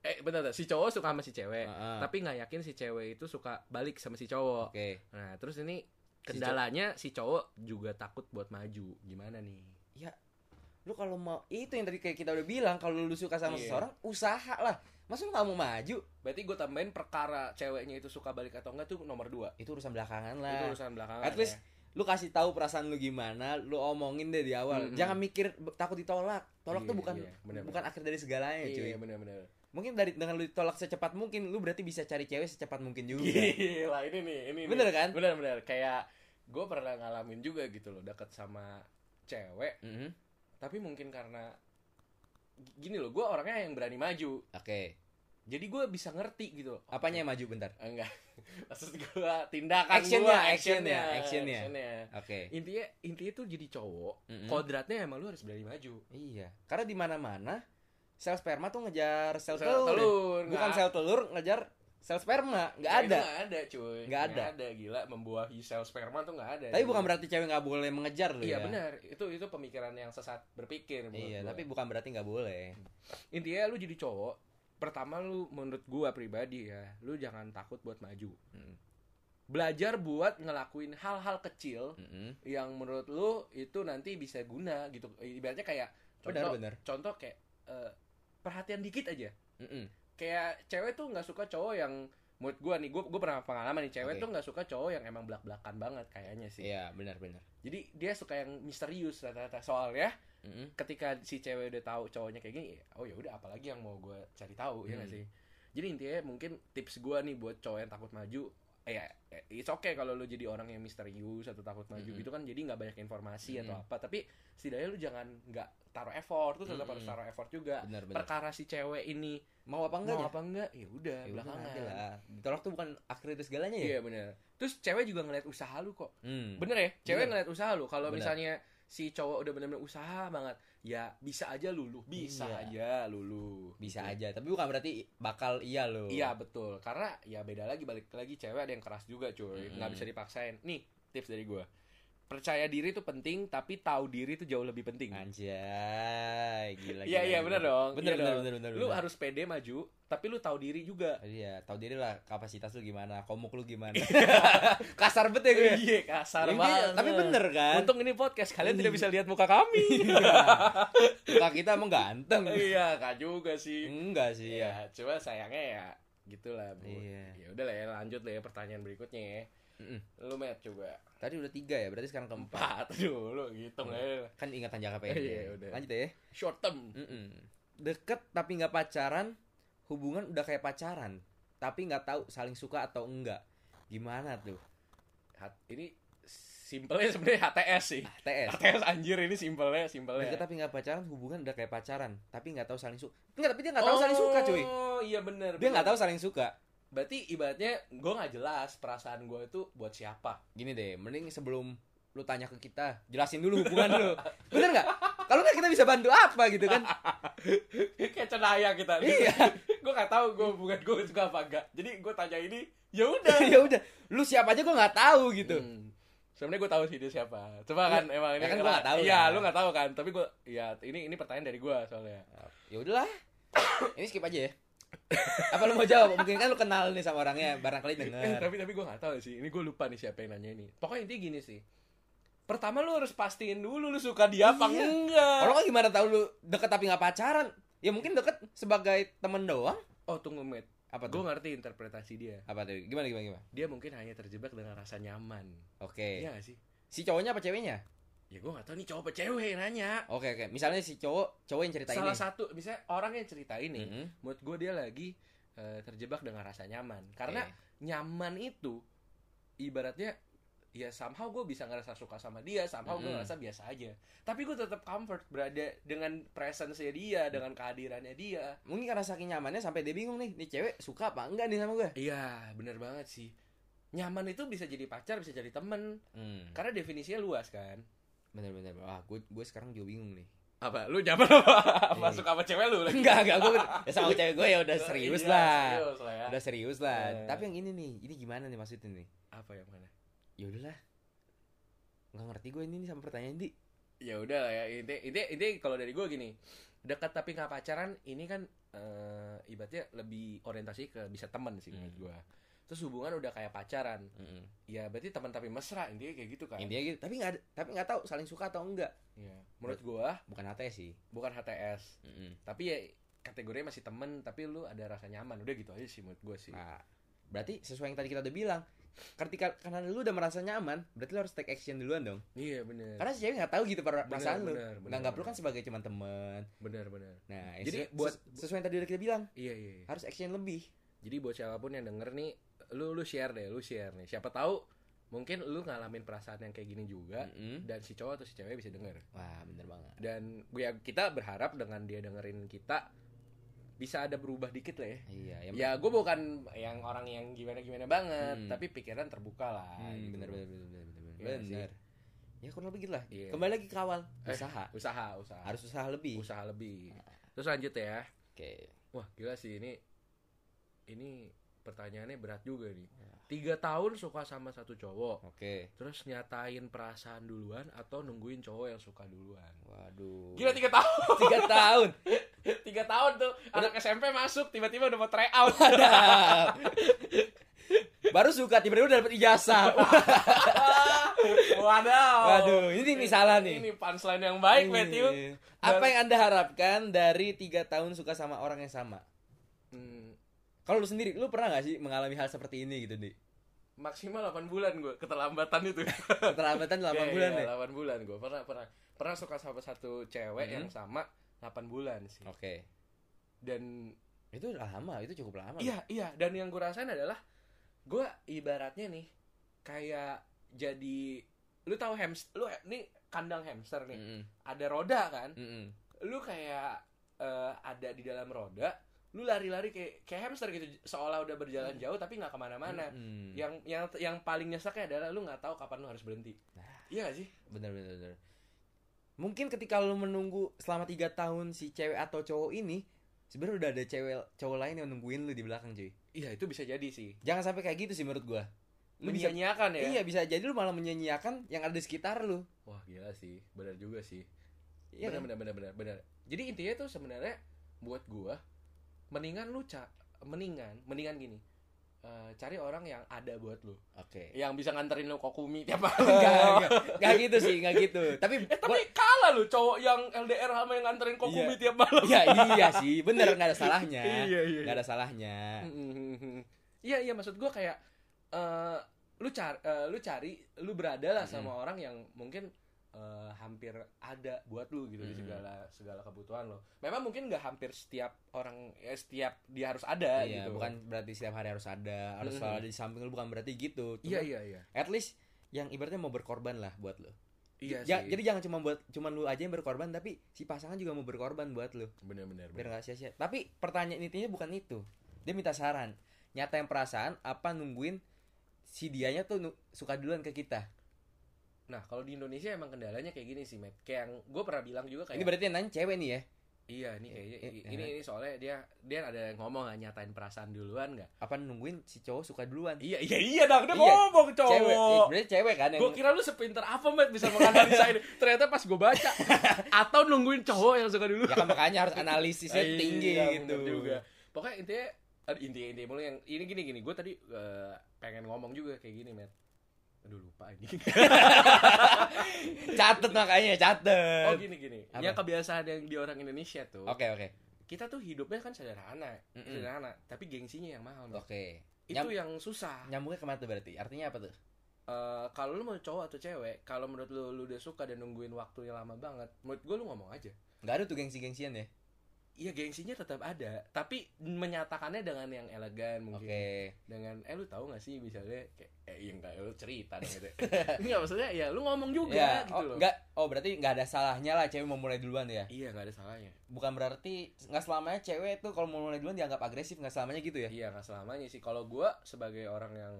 A: eh bentar, bentar. si cowok suka sama si cewek
B: Heeh.
A: tapi nggak yakin si cewek itu suka balik sama si cowok.
B: Oke.
A: Nah, terus ini kendalanya si cowok juga takut buat maju. Gimana nih?
B: Lu kalau mau itu yang tadi kayak kita udah bilang kalau lu suka sama
A: Iya.
B: seseorang usaha lah. Masa lu nggak mau maju?
A: Berarti gue tambahin perkara ceweknya itu suka balik atau enggak tuh nomor dua.
B: Itu urusan belakangan
A: Itu
B: lah.
A: urusan belakangan.
B: At least lu kasih tahu perasaan lu gimana, lu omongin deh di awal.
A: Mm-mm.
B: Jangan mikir be- takut ditolak. Tolak
A: Iya,
B: tuh bukan
A: iya, bener,
B: bukan akhir dari segalanya,
A: ya.
B: cuy.
A: Iya, bener-bener.
B: Mungkin dari dengan lu ditolak secepat mungkin, lu berarti bisa cari cewek secepat mungkin
A: Iya.
B: juga.
A: Gila, ini nih, ini nih.
B: Bener kan?
A: Bener-bener kayak gue pernah ngalamin juga gitu loh, deket sama cewek
B: Mhm.
A: tapi mungkin karena g- gini loh gue orangnya yang berani maju
B: Oke.
A: jadi gue bisa ngerti gitu loh.
B: Apanya yang maju bentar?
A: Eh, enggak <laughs> maksud gue tindakan
B: Actionnya,
A: gua,
B: actionnya, actionnya. Oke.
A: intinya intinya tuh jadi cowok
B: Mhm.
A: kodratnya emang lu harus berani maju
B: Iya, karena di mana-mana sel sperma tuh ngejar sel,
A: Sel
B: telur.
A: telur,
B: Bukan
A: nggak-
B: sel telur ngejar sel sperma, nggak
A: Nah, itu
B: ada.
A: nggak ada cuy
B: Nggak ada.
A: gila membuahi sel sperma tuh nggak ada
B: Tapi bukan berarti cewek nggak boleh mengejar loh
A: iya
B: ya.
A: benar itu itu pemikiran yang sesat berpikir menurut
B: Iya,
A: gua.
B: tapi bukan berarti nggak boleh.
A: intinya lu jadi cowok pertama lu menurut gua pribadi ya lu jangan takut buat maju
B: Mm.
A: belajar buat ngelakuin hal-hal kecil
B: Mm-mm.
A: yang menurut lu itu nanti bisa guna gitu ibaratnya kayak
B: Benar,
A: contoh
B: benar.
A: contoh kayak eh, perhatian dikit aja
B: Mm-mm.
A: kayak cewek tuh nggak suka cowok yang menurut gue nih gue gue pernah pengalaman nih cewek
B: Oke.
A: tuh nggak suka cowok yang emang belak belakan banget kayaknya sih
B: Iya, benar benar.
A: jadi dia suka yang misterius rata-rata soalnya
B: Mm-mm.
A: ketika si cewek udah tahu cowoknya kayak gini oh ya udah apalagi yang mau gue cari tahu ya nggak
B: Hmm.
A: sih jadi intinya mungkin tips gue nih buat cowok yang takut maju eh, ya eh, it's okay kalau lu jadi orang yang misterius atau takut maju
B: Mm-mm.
A: gitu kan jadi nggak banyak informasi atau
B: Mm-mm.
A: apa tapi setidaknya lu jangan nggak taruh effort tuh tetap
B: Mm-mm.
A: harus taruh effort juga
B: Benar benar.
A: perkara si cewek ini
B: Mau apa enggak?
A: mau
B: ya?
A: apa enggak ya udah
B: Ya udah,
A: belakangan
B: nanti lah. Ditolak tuh bukan akhir dari segalanya ya?
A: iya bener terus cewek juga ngeliat usaha lu kok
B: Hmm.
A: Bener ya, cewek
B: Bener.
A: ngeliat usaha lu. Kalau
B: Bener.
A: misalnya si cowok udah bener-bener usaha banget, ya bisa aja lulu, bisa
B: Iya.
A: aja lulu.
B: Bisa
A: Gitu.
B: aja, tapi bukan berarti bakal iya loh.
A: Iya betul, karena ya beda lagi balik lagi cewek ada yang keras juga cuy,
B: Mm-mm.
A: nggak bisa dipaksain. Nih tips dari gua percaya diri itu penting, tapi tahu diri itu jauh lebih penting.
B: Anjay, gila
A: Iya
B: gila,
A: iya
B: gila.
A: bener dong.
B: Nah, Bener
A: Iya
B: bener
A: dong.
B: bener bener.
A: Lu
B: bener.
A: harus pede maju, tapi lu tahu diri juga.
B: Iya, tahu diri lah kapasitas lu gimana, komuk lu
A: <laughs>
B: gimana. Kasar banget ya gue.
A: Iya kasar
B: Iya,
A: banget.
B: Tapi bener kan? Iya.
A: Untung ini podcast kalian tidak bisa lihat muka kami.
B: Muka kita emang ganteng.
A: iya, kak juga sih.
B: Enggak sih ya.
A: Iya, cuma sayangnya ya gitulah, Bu.
B: Iya.
A: Ya udah lah ya, lanjut lah ya pertanyaan berikutnya ya.
B: Mm-mm.
A: Lu met coba.
B: Tadi udah tiga ya, berarti sekarang keempat.
A: Empat <laughs> dulu gitu ya.
B: Kan ingatan jangka pendek.
A: Iya, udah.
B: Lanjut ya.
A: Short term.
B: Mm-mm. Deket tapi nggak pacaran, hubungan udah kayak pacaran, tapi nggak tahu saling suka atau enggak. Gimana tuh?
A: Hat- ini simpelnya sebenarnya HTS sih.
B: Ah, TS.
A: HTS anjir ini simpelnya, simpelnya.
B: Deket tapi nggak pacaran, hubungan udah kayak pacaran, tapi nggak tahu saling suka. Enggak, tapi dia nggak tahu saling suka, cuy.
A: Oh, iya bener
B: Dia
A: bener.
B: nggak tahu saling suka.
A: Berarti ibaratnya gue nggak jelas perasaan gue itu buat siapa. <laughs>
B: Gini deh, mending sebelum lu tanya ke kita, jelasin dulu hubungan lu. Bener nggak? Kalau nggak kita bisa bantu apa gitu kan?
A: Kayak cenaya kita.
B: Iya.
A: gue nggak tahu gue bukan gue suka apa enggak. Jadi gue tanya ini, ya udah.
B: <laughs> ya udah, lu siap aja gua nggak tahu gitu.
A: Hmm. Sebenarnya gue tahu sih dia siapa. Coba kan emang ini
B: ya kan gua nggak tahu
A: Iya,
B: kan.
A: lu nggak tahu kan. Tapi gue ya ini ini pertanyaan dari gue soalnya.
B: Ya udahlah. Ini skip aja ya. Apa lu mau jawab? Mungkin kan lu kenal nih sama orangnya, barangkali
A: Eh, <laughs>
B: denger.
A: tapi tapi gue nggak tahu sih. Ini gue lupa nih siapa yang nanya ini. Pokoknya intinya gini sih. Pertama lu harus pastiin dulu lu suka dia apa
B: Iya.
A: enggak.
B: Kalau nggak gimana tahu lu deket tapi nggak pacaran? Ya mungkin deket sebagai temen doang.
A: Oh tunggu met.
B: Apa
A: Gue
B: tuh?
A: ngerti interpretasi dia.
B: Apa tuh? Gimana gimana gimana?
A: Dia mungkin hanya terjebak dengan rasa nyaman.
B: Oke.
A: Iya nggak sih?
B: Si cowoknya apa ceweknya?
A: Ya gue nggak tahu nih cowok apa cewek yang nanya.
B: Oke oke. Misalnya si cowok, cowok yang cerita
A: Salah
B: ini.
A: satu misalnya orang yang cerita ini,
B: Mm-mm.
A: menurut gue dia lagi eh, terjebak dengan rasa nyaman. Karena
B: Oke.
A: nyaman itu ibaratnya ya somehow gue bisa ngerasa suka sama dia, somehow gue
B: Mm-mm.
A: ngerasa biasa aja. Tapi gue tetap comfort berada dengan presence-nya dia, dengan kehadirannya dia.
B: mungkin karena saking nyamannya sampai dia bingung nih, nih cewek suka apa enggak nih sama gue?
A: Iya, bener banget sih. Mm. Nyaman itu bisa jadi pacar, bisa jadi temen.
B: Hmm.
A: Karena definisinya luas kan.
B: Bener-bener. Wah, gue gue sekarang juga bingung nih.
A: Apa? Lu nyaman apa? <laughs> apa
B: Eh.
A: suka sama cewek lu lagi?
B: <laughs> Enggak, enggak gue ya sama cewek gue ya <laughs> udah serius
A: Iya,
B: lah.
A: Serius lah ya.
B: Udah serius lah.
A: Eh.
B: Tapi yang ini nih, ini gimana nih maksudnya nih?
A: Apa yang mana?
B: Ya udahlah. Enggak ngerti gue ini nih sama pertanyaan Di.
A: ya udah lah ya inti inti inti kalau dari gue gini dekat tapi nggak pacaran ini kan eh, ibaratnya lebih orientasi ke bisa teman sih menurut
B: Hmm.
A: gue terus hubungan udah kayak pacaran ya berarti teman tapi mesra intinya kayak gitu kan
B: Intinya gitu, tapi enggak ada- tapi enggak tahu saling suka atau enggak.
A: Iya. menurut gue
B: Bukan hati sih.
A: bukan HTS tapi ya kategorinya masih temen tapi lu ada rasa nyaman udah gitu aja sih menurut gue sih
B: Nah, berarti sesuai yang tadi kita udah bilang, ketika karena lu udah merasa nyaman, berarti lu harus take action duluan dong.
A: iya bener
B: Karena si cewek enggak tahu gitu
A: Bener,
B: per- perasaan lu.
A: bener, bener,
B: Nah, enggak perlu
A: bener.
B: kan sebagai cuman temen
A: bener bener
B: Nah,
A: Jadi
B: jadi
A: buat-
B: buat sesuai yang tadi udah kita bilang,
A: iya iya iya.
B: harus action lebih.
A: Jadi buat siapapun yang denger nih, lu lu share deh, lu share nih. Siapa tahu mungkin lu ngalamin perasaan yang kayak gini
B: Iya.
A: juga dan si cowok atau si cewek bisa denger.
B: Wah, bener banget.
A: Dan gue ya, kita berharap dengan dia dengerin kita bisa ada berubah dikit lah ya.
B: Iya, yang
A: Ya gue bukan yang orang yang gimana-gimana banget,
B: Hmm.
A: tapi pikiran terbuka lah.
B: Hmm,
A: gitu.
B: bener, bener, bener, bener, bener,
A: Iya
B: bener.
A: sih.
B: Bener. Ya kurang lebih gitu lah.
A: Iya.
B: Kembali lagi ke awal,
A: Eh.
B: usaha.
A: Usaha, usaha.
B: Harus usaha lebih. Ah.
A: usaha lebih. Terus lanjut ya.
B: Oke.
A: Wah gila sih ini, ini pertanyaannya berat juga nih.
B: Ya.
A: Tiga tahun suka sama satu cowok.
B: Oke.
A: Terus nyatain perasaan duluan atau nungguin cowok yang suka duluan?
B: Waduh.
A: Gila tiga tahun,
B: <laughs> tiga tahun.
A: tiga tahun tuh anak SMP masuk tiba-tiba udah mau try out.
B: Padahal. Baru suka tiba-tiba udah dapet ijazah.
A: <laughs> Waduh.
B: Waduh, ini nih salah nih.
A: Ini punchline yang <laughs> baik,
B: Iya.
A: Matthew.
B: Apa yang Anda harapkan dari tiga tahun suka sama orang yang sama?
A: Hmm,
B: Kalau lu sendiri, lu pernah gak sih mengalami hal seperti ini gitu, Di?
A: maksimal 8 bulan gue keterlambatan itu
B: Keterlambatan 8
A: Iya,
B: bulan
A: iya,
B: ya?
A: 8 bulan gue pernah pernah pernah suka sama satu cewek
B: Mhm.
A: yang sama 8 bulan sih
B: Oke.
A: dan
B: Itu lama, itu cukup lama.
A: iya iya dan yang gue rasain adalah gue ibaratnya nih kayak jadi lu tahu hamster lu nih kandang hamster
B: Bang.
A: nih
B: Mm-mm.
A: ada roda kan
B: Mm-mm.
A: lu kayak eh, ada di dalam roda lu lari-lari kayak kayak hamster gitu seolah udah berjalan jauh tapi nggak kemana-mana
B: Mm-mm.
A: yang yang yang paling nyeseknya adalah lu nggak tahu kapan lu harus berhenti iya gak sih
B: Bener, bener, bener. Mungkin ketika lu menunggu selama 3 tahun si cewek atau cowok ini, sebenarnya udah ada cewek cowok lain yang nungguin lu di belakang, cuy.
A: iya itu bisa jadi sih
B: Jangan sampai kayak gitu sih menurut gua.
A: lu
B: Lu bisa
A: menyanyiakan ya
B: Iya, bisa jadi lu malah menyanyiakan yang ada di sekitar lu.
A: wah gila sih benar juga sih
B: Iya
A: benar
B: kan?
A: benar benar benar benar jadi intinya tuh sebenarnya buat gua mendingan lu ca mendingan mendingan gini eh, cari orang yang ada buat lu
B: Oke.
A: yang bisa nganterin lu kokumi <laughs> tiap hari
B: Enggak,
A: Enggak.
B: enggak.
A: <laughs>
B: Enggak gitu sih, enggak gitu. Tapi
A: eh <laughs> tapi kalah lu cowok yang LDR sama yang nganterin kokumi
B: Iya.
A: tiap malam
B: ya iya sih, bener nggak ada salahnya.
A: Iya, iya,
B: Nggak ada salahnya.
A: Mm-mm. Iya iya maksud gua kayak eh, lu cari eh, lu cari lu berada lah sama
B: Mm-hmm.
A: orang yang mungkin eh, hampir ada buat lu gitu di
B: Mm-mm.
A: segala segala kebutuhan lo. Memang mungkin nggak hampir setiap orang ya, setiap dia harus ada
B: Iya,
A: gitu.
B: bukan berarti setiap hari harus ada, harus
A: Mm-mm.
B: selalu ada di samping lu bukan berarti gitu.
A: Iya
B: Cuma
A: iya iya.
B: At least yang ibaratnya mau berkorban lah buat lu.
A: Iya
B: Ja-
A: sih.
B: Ya, jadi jangan cuma buat cuman lu aja yang berkorban, tapi si pasangan juga mau berkorban buat lu.
A: bener-bener.
B: Biar nggak sia-sia. Tapi pertanyaan intinya bukan itu. Dia minta saran. Nyatain perasaan apa nungguin si dianya tuh nu- suka duluan ke kita.
A: Nah kalau di Indonesia emang kendalanya kayak gini sih, Matt. Kayak yang gue pernah bilang juga kayak.
B: Ini berarti yang nanya cewek nih ya.
A: Iya ini kayaknya
B: Eh, eh,
A: ini ini soalnya dia dia ada yang ngomong nggak nyatain perasaan duluan nggak?
B: Apa nungguin si cowok suka duluan?
A: Iya iya iya dong dia
B: Iya.
A: ngomong cowok.
B: Cewek, eh, berarti cewek kan yang
A: Gue kira lu sepinter apa, Matt, bisa menganalisa ini. Ternyata pas gue <laughs> baca. atau nungguin cowok yang suka dulu.
B: ya kan makanya harus analisisnya
A: Iya,
B: tinggi
A: bener
B: gitu.
A: juga. Pokoknya intinya, aduh, intinya, intinya mulu yang ini gini, gini. Gue tadi eh, pengen ngomong juga kayak gini, Matt. Aduh, lupa ini. <laughs>
B: Catet makanya,
A: oh,
B: catet.
A: gini, gini.
B: Apa?
A: Ya kebiasaan yang di orang Indonesia tuh.
B: Oke, oke.
A: Kita tuh hidupnya kan sederhana.
B: Mm-mm.
A: Sederhana. Tapi gengsinya yang mahal, Matt.
B: Oke.
A: Itu
B: Nyam-
A: yang susah.
B: Nyambungnya kemana tuh berarti? Artinya apa tuh?
A: Eh, kalau lu mau cowok atau cewek, kalau menurut lu lu udah suka dan nungguin waktunya lama banget, menurut gue lu ngomong aja.
B: Gak ada tuh gengsi-gengsian ya?
A: Iya gengsinya tetap ada, tapi menyatakannya dengan yang elegan
B: Oke.
A: mungkin. Dengan eh lu tahu gak sih misalnya kayak eh iya enggak lu cerita dong gitu. <laughs> Enggak maksudnya ya lu ngomong juga
B: Ya,
A: gitu loh.
B: oh, nggak- oh, berarti nggak ada salahnya lah cewek mau mulai duluan ya?
A: Iya nggak ada salahnya.
B: Bukan berarti nggak selamanya cewek tuh kalau mau mulai duluan dianggap agresif nggak selamanya gitu ya?
A: Iya nggak selamanya sih. Kalau gua sebagai orang yang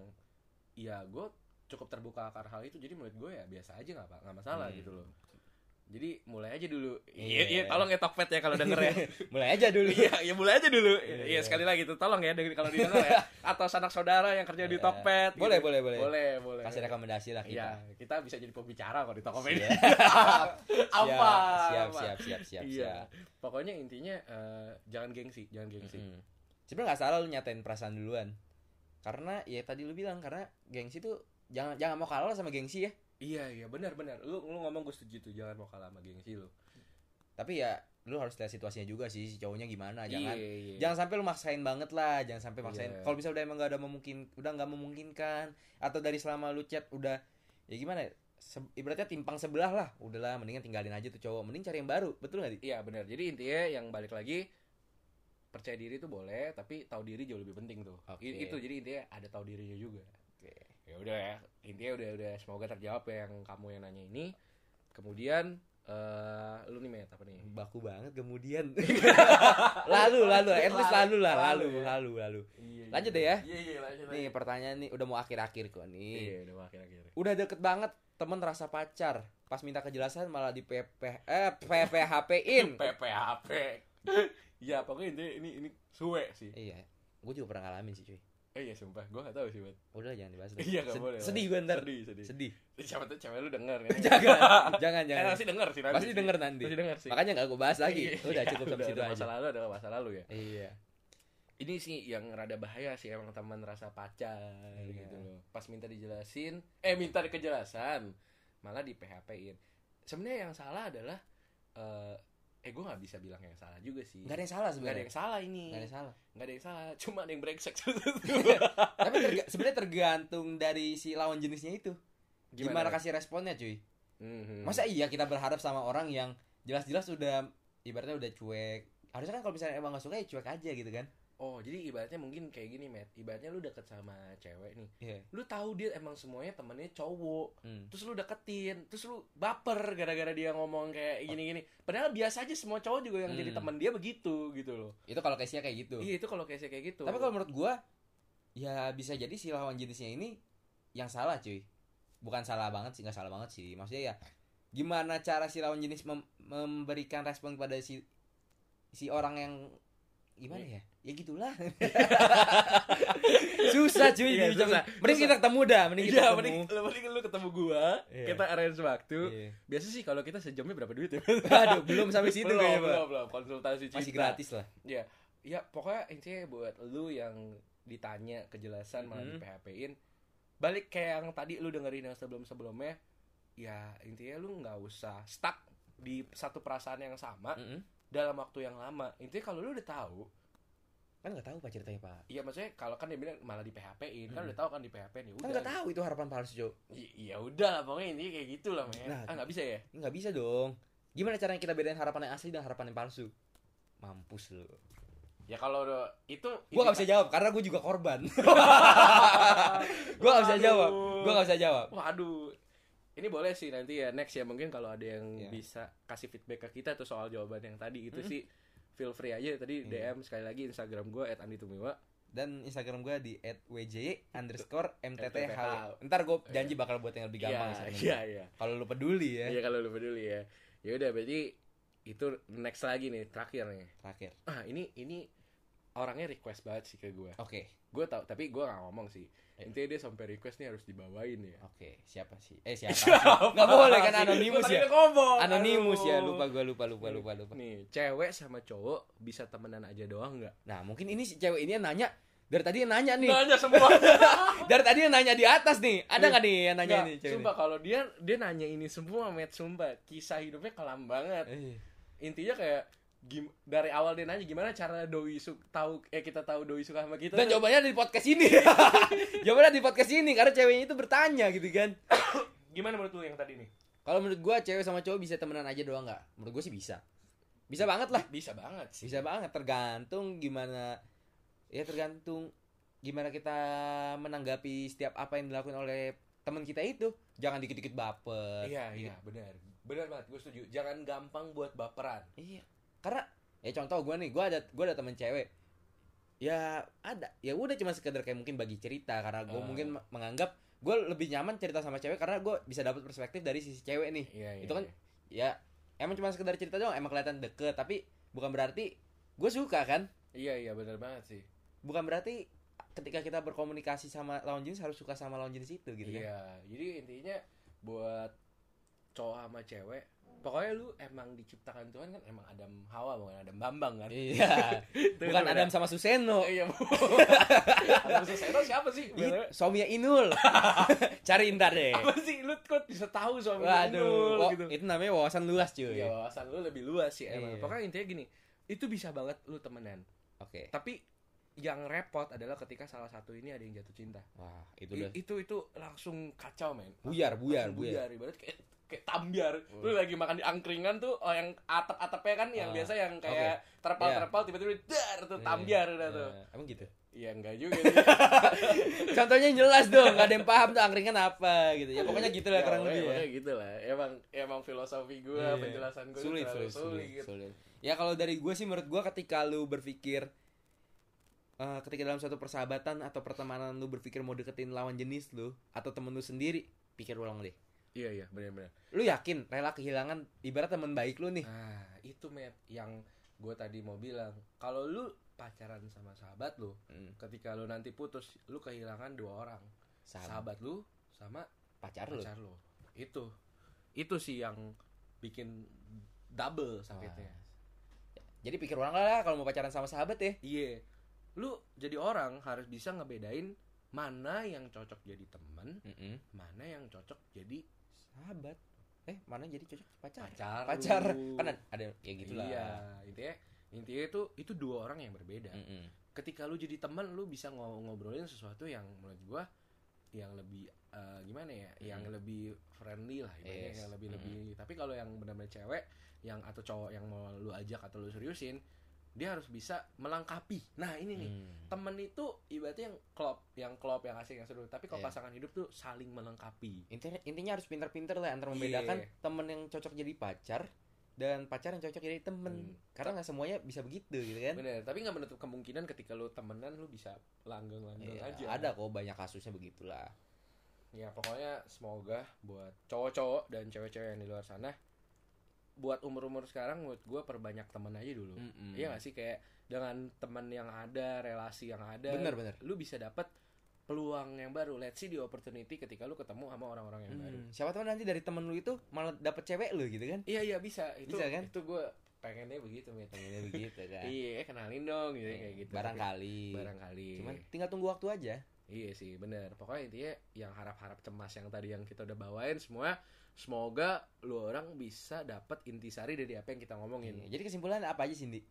A: ya gua cukup terbuka akan hal itu, jadi menurut gue ya biasa aja nggak apa nggak masalah
B: Hmm.
A: gitu loh. Jadi mulai aja dulu.
B: Iya.
A: Iya iya tolong ya Tokped ya kalau denger ya.
B: mulai aja dulu.
A: Iya, ya mulai aja dulu. Iya,
B: Iya.
A: sekali lagi tuh tolong ya dengerin kalau didengar ya.
B: <laughs>
A: Atau sanak saudara yang kerja di
B: Iya.
A: Tokped.
B: Boleh,
A: gitu.
B: boleh, boleh.
A: Boleh, boleh.
B: Kasih rekomendasi lah kita.
A: Iya, kita bisa jadi pembicara kok di Tokopedia.
B: Siap.
A: <laughs> Apa?
B: Siap,
A: Apa?
B: siap, siap, siap,
A: Iya.
B: siap.
A: Pokoknya intinya eh, jangan gengsi, jangan gengsi.
B: Mm-mm. Sebenarnya nggak salah lu nyatain perasaan duluan. Karena ya tadi lu bilang karena gengsi tuh jangan jangan mau kalah lah sama gengsi ya.
A: Iya, iya, benar benar. Lu lu ngomong gue setuju tuh, jangan mau kalah sama gengsi lu.
B: Tapi ya lu harus lihat situasinya juga sih si cowoknya gimana. Nah,
A: Iya,
B: Jangan
A: iya.
B: jangan sampai lu maksain banget lah, jangan sampai maksain.
A: Iya.
B: Kalau bisa udah emang gak ada memungkin, udah nggak memungkinkan atau dari selama lu chat udah ya gimana ya? Se- ibaratnya timpang sebelah lah. Udahlah mendingan tinggalin aja tuh cowok, mending cari yang baru. Betul gak, Di?
A: Iya, benar. Jadi intinya yang balik lagi percaya diri tuh boleh, tapi tahu diri jauh lebih penting tuh.
B: Oke.
A: I- Itu jadi intinya ada tahu dirinya juga.
B: Oke.
A: Ya udah ya. Intinya udah udah semoga terjawab ya yang kamu yang nanya ini. Kemudian eh lu nih Met, apa nih?
B: Baku banget
A: <laughs>
B: kemudian. lalu, lalu, at least lalu lah,
A: Lalu,
B: lalu,
A: ya.
B: lalu, lalu.
A: Iya, iya.
B: Lanjut deh ya.
A: Iya, iya, lanjut.
B: Nih pertanyaan nih udah mau akhir-akhir kok nih.
A: Iya, udah akhir-akhir.
B: Udah deket banget temen rasa pacar. Pas minta kejelasan malah di PP eh
A: <laughs>
B: PPHP-in.
A: PPHP. ya pokoknya ini ini ini suwe sih.
B: iya. Gue juga pernah ngalamin sih cuy.
A: Eh iya sumpah, gue gak tahu sih buat.
B: Udah jangan dibahas. dah.
A: Iya gak
B: Sed-
A: boleh.
B: Sedih gue ntar.
A: Sedih sedih.
B: Sedih.
A: Siapa tuh cewek lu denger kan? <laughs>
B: jangan, jangan,
A: Eh,
B: jangan.
A: pasti denger sih nanti.
B: Pasti
A: sih.
B: denger nanti.
A: Pasti denger sih.
B: Makanya gak gue bahas lagi. Udah cukup
A: Iya. Udah,
B: sampai situ
A: udah Masa
B: aja.
A: lalu adalah masa lalu ya.
B: Iya.
A: Ini sih yang rada bahaya sih emang teman rasa pacar
B: Iya.
A: gitu loh. Pas minta dijelasin, eh minta kejelasan malah di PHP-in. Sebenarnya yang salah adalah eh eh gue nggak bisa bilang yang salah juga sih
B: Gak ada yang salah
A: Nggak ada
B: sebenarnya.
A: yang salah ini
B: Gak ada yang salah.
A: nggak ada yang salah cuma ada yang brengsek <laughs>
B: Tapi terga- sebenarnya tergantung dari si lawan jenisnya itu. Gimana, kasih responnya, cuy?
A: Mhm.
B: Masa iya kita berharap sama orang yang jelas-jelas udah ibaratnya udah cuek. Harusnya kan kalau misalnya emang gak suka ya cuek aja gitu kan.
A: oh jadi ibaratnya mungkin kayak gini Matt ibaratnya lu deket sama cewek nih
B: Iya.
A: lu tahu dia emang semuanya temennya cowok
B: Hmm.
A: terus lu deketin terus lu baper gara-gara dia ngomong kayak gini-gini padahal biasa aja semua cowok juga yang jadi
B: Hmm.
A: teman dia begitu gitu loh
B: Itu kalau case-nya kayak gitu.
A: iya itu kalau kayak kayak gitu
B: Tapi kalau menurut gua ya bisa jadi si lawan jenisnya ini yang salah, cuy. Bukan salah banget sih, nggak salah banget sih. Maksudnya ya gimana cara si lawan jenis mem- memberikan respon pada si si orang yang gimana ya? Ya gitulah. <laughs> susah cuy
A: Iya,
B: diucapin.
A: susah.
B: Mending
A: Susah.
B: kita ketemu dah, mending kita
A: Iya,
B: ketemu.
A: mending, mending lu ketemu gua,
B: Iya.
A: kita arrange waktu.
B: Iya.
A: Biasa sih kalau kita sejamnya berapa duit ya?
B: <laughs> Aduh, belum sampai situ
A: belum,
B: kayaknya, Pak.
A: belum, belum. konsultasi cinta.
B: Masih gratis lah.
A: Ya, pokoknya intinya buat lu yang ditanya kejelasan malah di
B: Mhm.
A: PHP-in, balik kayak yang tadi lu dengerin yang sebelum-sebelumnya, ya intinya lu nggak usah stuck di satu perasaan yang sama
B: Mm-mm.
A: dalam waktu yang lama. Intinya kalau lu udah tahu,
B: Kan nggak tahu Pak ceritanya, Pak.
A: iya maksudnya kalau kan dia bilang malah di PHP-in, kan
B: Mhm.
A: udah tahu kan di PHP-in ya
B: Kan
A: udah.
B: nggak tahu itu harapan palsu, cuy.
A: Y- Ya udah lah pokoknya intinya kayak gitu lah, men.
B: Nah,
A: ah nggak bisa ya?
B: Nggak bisa dong. Gimana caranya kita bedain harapan yang asli dan harapan yang palsu? Mampus lu.
A: Ya kalau udah- itu
B: Gue gak bisa jawab karena gue juga <laughs> korban. gue gak bisa
A: Aduh.
B: jawab. Gue gak bisa jawab.
A: Waduh. Ini boleh sih nanti ya next ya mungkin kalau ada yang
B: Iya.
A: bisa kasih feedback ke kita tuh soal jawaban yang tadi itu
B: Mm-mm.
A: sih feel free aja tadi DM
B: Iya.
A: sekali lagi Instagram gue @anditumiwa.
B: Dan Instagram gue di @wj underscore
A: MTTH.
B: Ntar gue janji bakal buat yang lebih gampang.
A: Iya,
B: Instagram
A: Iya
B: gua.
A: iya.
B: Kalau lu peduli ya.
A: Iya kalau lu peduli ya. Ya udah berarti itu next lagi nih terakhir nih.
B: Terakhir.
A: Ah ini ini orangnya request banget sih ke gue.
B: Oke.
A: Gue tau tapi gue gak ngomong sih.
B: Iya.
A: Intinya dia sampai request nih harus dibawain ya.
B: <laughs> Oke. Siapa sih? Eh <laughs> siapa? sih? Nggak boleh kan anonimus ya. Anonimus
A: Anonimus
B: ya. Lupa gue lupa lupa lupa lupa.
A: Nih, cewek sama cowok bisa temenan aja doang nggak?
B: Nah mungkin ini si cewek ini yang nanya. Dari tadi yang nanya nih.
A: Nanya semua.
B: Dari tadi yang nanya di atas nih. Ada
A: Nih.
B: gak nih yang <laughs> nanya
A: Nanya
B: nih cewek? ini?
A: sumpah kalau dia dia nanya ini semua, met sumpah. Kisah hidupnya kelam banget.
B: Eh,
A: Intinya kayak gim- dari awal dia nanya gimana cara doi suk tahu eh kita tahu doi suka sama kita.
B: Dan
A: tuh.
B: jawabannya ada di podcast ini. <laughs> jawabannya ada di podcast ini karena ceweknya itu bertanya gitu kan.
A: gimana menurut lu yang tadi nih?
B: Kalau menurut gua cewek sama cowok bisa temenan aja doang nggak? Menurut gua sih bisa. Bisa banget lah.
A: Bisa banget sih.
B: Bisa banget tergantung gimana ya tergantung gimana kita menanggapi setiap apa yang dilakukan oleh teman kita itu. Jangan dikit-dikit baper.
A: Iya, iya, benar. Benar banget, gue setuju. Jangan gampang buat baperan.
B: Iya. Karena ya contoh gua nih, gua ada gua ada teman cewek. Ya ada. Ya udah cuma sekedar kayak mungkin bagi cerita karena gua
A: Ah.
B: mungkin me- menganggap gua lebih nyaman cerita sama cewek karena gua bisa dapat perspektif dari sisi cewek nih.
A: Iya,
B: Itu kan- Ya emang cuma sekedar cerita doang, emang kelihatan deket tapi bukan berarti gue suka kan?
A: Iya, iya, benar banget sih.
B: Bukan berarti ketika kita berkomunikasi sama lawan jenis harus suka sama lawan jenis itu gitu kan.
A: Iya, jadi intinya buat cowok sama cewek, pokoknya lu emang diciptakan Tuhan kan emang Adam Hawa bukan Adam Bambang kan?
B: Iya.
A: Itu- kan itu
B: bukan
A: beda.
B: Adam sama Suseno.
A: Iya, <laughs> bu. Adam Suseno siapa sih?
B: Ih, Suaminya Inul. <laughs> Cari ntar deh.
A: <laughs> Apa sih lu kok bisa tahu suami
B: Waduh,
A: Inul
B: wo-
A: gitu?
B: itu namanya wawasan luas cuy.
A: Iya, wawasan lu lebih luas sih emang.
B: Iya.
A: Pokoknya intinya gini, itu bisa banget lu temenan.
B: Oke.
A: Tapi yang repot adalah ketika salah satu ini ada yang jatuh cinta.
B: Wah, itu
A: I-
B: udah
A: Itu itu langsung kacau, men.
B: buyar, buyar,
A: Langsung
B: buyar.
A: ibarat kayak kayak tambiar
B: Hmm.
A: lu lagi makan di angkringan tuh oh, yang atap atapnya kan yang
B: Ah,
A: biasa yang kayak terpal
B: Iya.
A: terpal tiba-tiba dar tuh
B: Iya,
A: tambiar udah
B: Eh,
A: tuh
B: emang gitu.
A: ya enggak juga sih.
B: Contohnya yang jelas dong, gak ada yang paham tuh angkringan apa gitu. Ya <laughs> pokoknya gitu lah
A: Ya,
B: kurang
A: pokoknya-
B: lebih ya.
A: pokoknya gitu lah emang emang filosofi gue
B: Iya.
A: penjelasan gue
B: sulit,
A: terlalu
B: sulit, sulit,
A: gitu.
B: sulit. Ya kalau dari gue sih menurut gue ketika lu berpikir eh, ketika dalam suatu persahabatan atau pertemanan lu berpikir mau deketin lawan jenis lu atau temen lu sendiri, pikir ulang deh.
A: iya iya benar-benar
B: Lu yakin rela kehilangan ibarat temen baik lu nih?
A: nah itu met yang gue tadi mau bilang kalau lu pacaran sama sahabat lu
B: Hmm,
A: ketika lu nanti putus lu kehilangan dua orang
B: sahabat,
A: sahabat lu sama
B: pacar lu.
A: pacar lo itu itu sih yang bikin double sakitnya
B: Jadi pikir ulang lah kalau mau pacaran sama sahabat ya.
A: iya lu jadi orang harus bisa ngebedain mana yang cocok jadi temen
B: Mm-mm.
A: mana yang cocok jadi
B: Sahabat. eh mana jadi cocok pacar
A: pacar
B: pacar
A: lu.
B: kan ada ya gitulah
A: iya intinya intinya itu itu dua orang yang berbeda
B: Mm-mm.
A: ketika lu jadi teman lu bisa ngo- ngobrolin sesuatu yang menurut gua yang lebih eh, gimana ya yang
B: Mm.
A: lebih friendly lah ibaratnya
B: Yes.
A: yang lebih lebih tapi kalau yang benar-benar cewek yang atau cowok yang mau lu ajak atau lu seriusin dia harus bisa melengkapi nah ini nih
B: Mm.
A: temen itu ibaratnya yang klop yang klop yang asing yang seru tapi kalau
B: Iya.
A: pasangan hidup tuh saling melengkapi
B: intinya intinya harus pintar-pintar lah antara membedakan
A: Iya.
B: temen yang cocok jadi pacar dan pacar yang cocok jadi
A: Hmm.
B: temen karena nggak semuanya bisa begitu gitu kan
A: Bener, tapi nggak menutup kemungkinan ketika lu temenan lu bisa langgeng-langgeng
B: Iya,
A: aja.
B: ada kok banyak kasusnya begitulah
A: Ya pokoknya semoga buat cowok-cowok dan cewek-cewek yang di luar sana buat umur-umur sekarang menurut gue perbanyak teman aja dulu.
B: Hmm.
A: Iya gak sih kayak dengan teman yang ada, relasi yang ada,
B: bener bener
A: lu bisa dapat peluang yang baru. Let's see the opportunity ketika lu ketemu sama orang-orang yang baru.
B: Hmm, siapa tahu nanti dari temen lu itu malah dapet cewek lu gitu kan
A: Iya iya bisa. Itu
B: Bisa, kan?
A: itu gue pengennya begitu Mit.
B: Pengennya begitu kan
A: Iya, kenalin dong gitu kayak gitu.
B: barangkali
A: barangkali.
B: cuman tinggal tunggu waktu aja
A: Iya sih bener Pokoknya intinya yang harap-harap cemas yang tadi yang kita udah bawain semua Semoga lu orang bisa dapat intisari dari apa yang kita ngomongin
B: Iya, jadi kesimpulan apa aja Cindy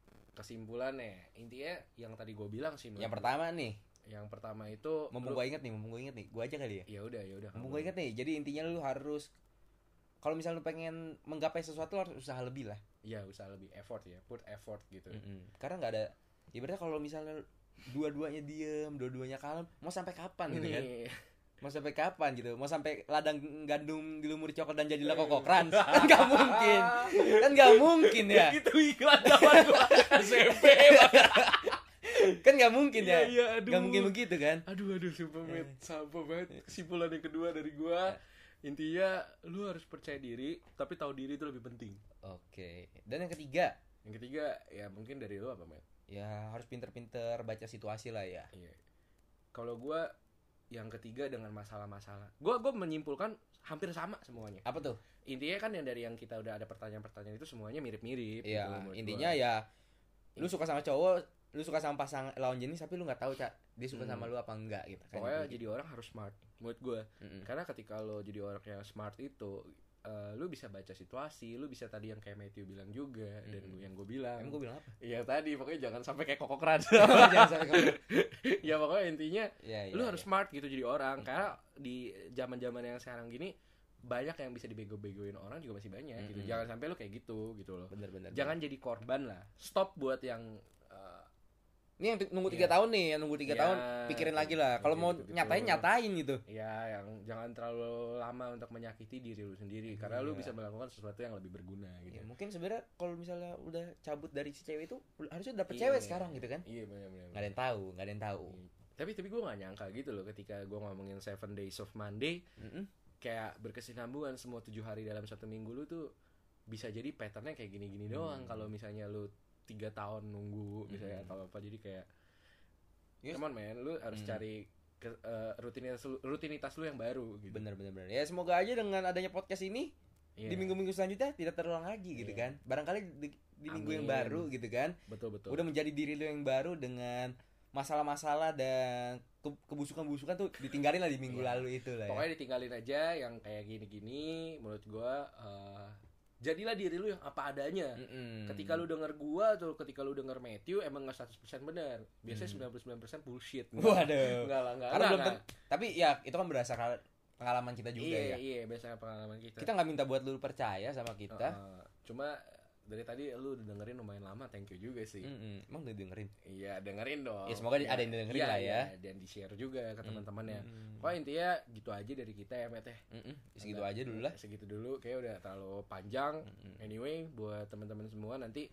A: Kesimpulannya intinya yang tadi gue bilang sih
B: yang
A: menurut-
B: pertama nih
A: Yang pertama itu
B: mumpung gua inget nih mumpung gua inget nih gua aja kali ya
A: Ya udah ya udah
B: mumpung gua inget nih jadi intinya lu harus kalau misalnya lu pengen menggapai sesuatu lu harus usaha lebih lah
A: Ya usah lebih effort ya Put effort gitu
B: Mm-mm. Karena nggak ada ibaratnya kalau misalnya dua-duanya diem, dua-duanya kalem, mau sampai kapan gitu
A: <laughs>
B: kan?
A: Nih,
B: Mau sampai kapan gitu? Mau sampai ladang gandum dilumuri coklat dan jadilah kokok crunch? Kan nggak mungkin, kan nggak mungkin ya,
A: Itu Gitu iklan zaman
B: <laughs>
A: gua SMP
B: kan nggak mungkin ya,
A: iya aduh
B: nggak mungkin begitu kan?
A: Aduh aduh sumpah Met. Sumpah banget
B: Eh.
A: Kesimpulan yang kedua dari gua Intinya lu harus percaya diri Tapi tahu diri itu lebih penting
B: Oke, dan yang ketiga
A: Yang ketiga ya mungkin dari lu apa, Matt?
B: ya harus pinter-pinter baca situasi lah ya.
A: Iya. Kalau gua yang ketiga dengan masalah-masalah. Gua gua menyimpulkan hampir sama semuanya.
B: Apa tuh?
A: Intinya kan yang dari yang kita udah ada pertanyaan-pertanyaan itu semuanya mirip-mirip gitu
B: Ya
A: menurut
B: intinya
A: gua.
B: ya, lu suka sama cowok, lu suka sama pasang lawan jenis tapi lu nggak tahu cak dia suka
A: Hmm.
B: sama lu apa enggak gitu Hmm. kan?
A: Pokoknya jadi orang harus smart menurut gua.
B: Mm-mm.
A: Karena ketika lo jadi orang yang smart itu eh, lu bisa baca situasi, lu bisa tadi yang kayak Matthew bilang juga dan
B: Mm-mm.
A: gua- yang gue bilang.
B: Emang gue
A: <laughs>
B: bilang apa?
A: Iya tadi pokoknya jangan sampai kayak kokok
B: <laughs>
A: keran.
B: Jangan sampai kamu.
A: <laughs> ya pokoknya intinya
B: Ya, ya,
A: lu
B: ya.
A: harus smart gitu jadi orang
B: Hmm.
A: karena di zaman zaman yang sekarang gini banyak yang bisa dibego-begoin orang juga masih banyak gitu
B: Mm-mm.
A: jangan sampai lu kayak gitu gitu loh
B: bener-bener.
A: jangan jadi korban lah stop buat yang eh,
B: Ini yang t- nunggu
A: Iya.
B: tiga tahun nih, yang nunggu tiga
A: Ya,
B: tahun pikirin lagi lah. Kalau mau
A: gitu-gitu.
B: nyatain nyatain gitu.
A: ya yang jangan terlalu lama untuk menyakiti diri lu sendiri karena lu
B: Iya.
A: bisa melakukan sesuatu yang lebih berguna
B: Ya,
A: gitu
B: mungkin sebenarnya kalau misalnya udah cabut dari si cewek itu u- harusnya dapet
A: Iya.
B: cewek sekarang gitu kan?
A: iya benar-benar
B: Gak ada yang tahu, gak ada yang tahu.
A: Iya. tapi tapi gue gak nyangka gitu loh ketika gue ngomongin seven days of Monday
B: Mm-mm.
A: kayak berkesinambungan semua tujuh hari dalam satu minggu lu tuh bisa jadi patternnya kayak gini-gini doang
B: Hmm.
A: kalau misalnya lu tiga tahun nunggu misalnya
B: Hmm.
A: atau apa jadi kayak
B: Yes.
A: come on man lu harus
B: Hmm.
A: cari ke- eh, rutinitas lu, rutinitas lu yang baru gitu
B: Bener bener bener. Ya semoga aja dengan adanya podcast ini
A: Iya,
B: di minggu-minggu selanjutnya tidak terulang lagi gitu
A: Iya.
B: kan? Barangkali di, di minggu yang
A: Amin.
B: baru gitu kan?
A: betul betul
B: Udah menjadi diri lu yang baru dengan masalah-masalah dan ke- kebusukan-busukan tuh ditinggalin lah di minggu
A: Iya.
B: lalu itu lah. Ya.
A: pokoknya ditinggalin aja yang kayak gini-gini menurut gua eh, jadilah diri lu yang apa adanya
B: Mm-mm.
A: ketika lu denger gua atau ketika lu denger Matthew emang nggak 100% benar biasanya 99% bullshit Enggak,
B: Hmm. Waduh.
A: enggak lah enggak enggak,
B: Karena belum
A: enggak.
B: ten- tapi ya itu kan berdasarkan pengalaman kita juga
A: iya,
B: ya.
A: Iya, biasanya pengalaman kita.
B: Kita nggak minta buat lu percaya sama kita.
A: Uh, cuma dari tadi lu udah dengerin lumayan lama, thank you juga sih.
B: Mm-mm. Emang udah dengerin.
A: Iya, dengerin dong.
B: Hmm. Ya, semoga di- ada yang dengerin
A: Iya,
B: lah ya. Hmm.
A: iya, dan di-share juga ke teman-temannya.
B: Mm-mm.
A: ya? Pokoknya intinya gitu aja dari kita ya, Met. ya.
B: Mm-mm. Segitu aja dulu lah. Hmm,
A: Segitu dulu, kayak udah terlalu panjang.
B: Mm-mm.
A: Anyway, buat teman-teman semua nanti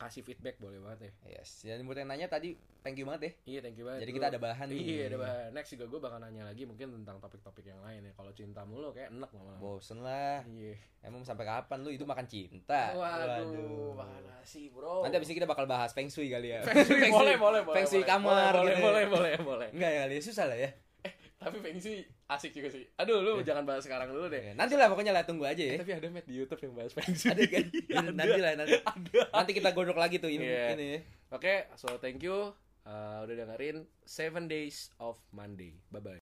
A: kasih feedback boleh banget ya.
B: Yes. Dan buat yang nanya tadi thank you banget ya.
A: Iya, thank you banget.
B: Jadi
A: Lu-
B: kita ada bahan nih.
A: Iya, ada bahan. Next juga gue bakal nanya lagi mungkin tentang topik-topik yang lain ya. Kalau cinta mulu kayak enak lama-lama.
B: Bosen lah.
A: Iya.
B: Emang sampai kapan lu itu makan cinta?
A: Waduh, makan nasi, Bro.
B: Nanti abis ini kita bakal bahas feng shui kali ya.
A: Feng Shui, boleh, boleh, boleh.
B: Feng Shui
A: boleh.
B: kamar
A: Boleh,
B: gitu.
A: boleh, boleh, boleh.
B: Enggak ya kali ya, susah lah ya.
A: Tapi Feng Shui asik juga sih. Aduh, lu
B: Iya.
A: jangan bahas sekarang dulu deh.
B: Ya, Nanti lah pokoknya lah tunggu aja
A: Eh, <laughs>
B: ya.
A: tapi ada Matt di YouTube yang bahas Feng Shui.
B: Ada kan?
A: Iya, Ada.
B: Nanti lah nanti.
A: Ada.
B: Nanti kita godok lagi tuh ini
A: Iya.
B: ini ya.
A: Oke, so thank you. Uh, udah dengerin 7 Days of Monday. Bye-bye.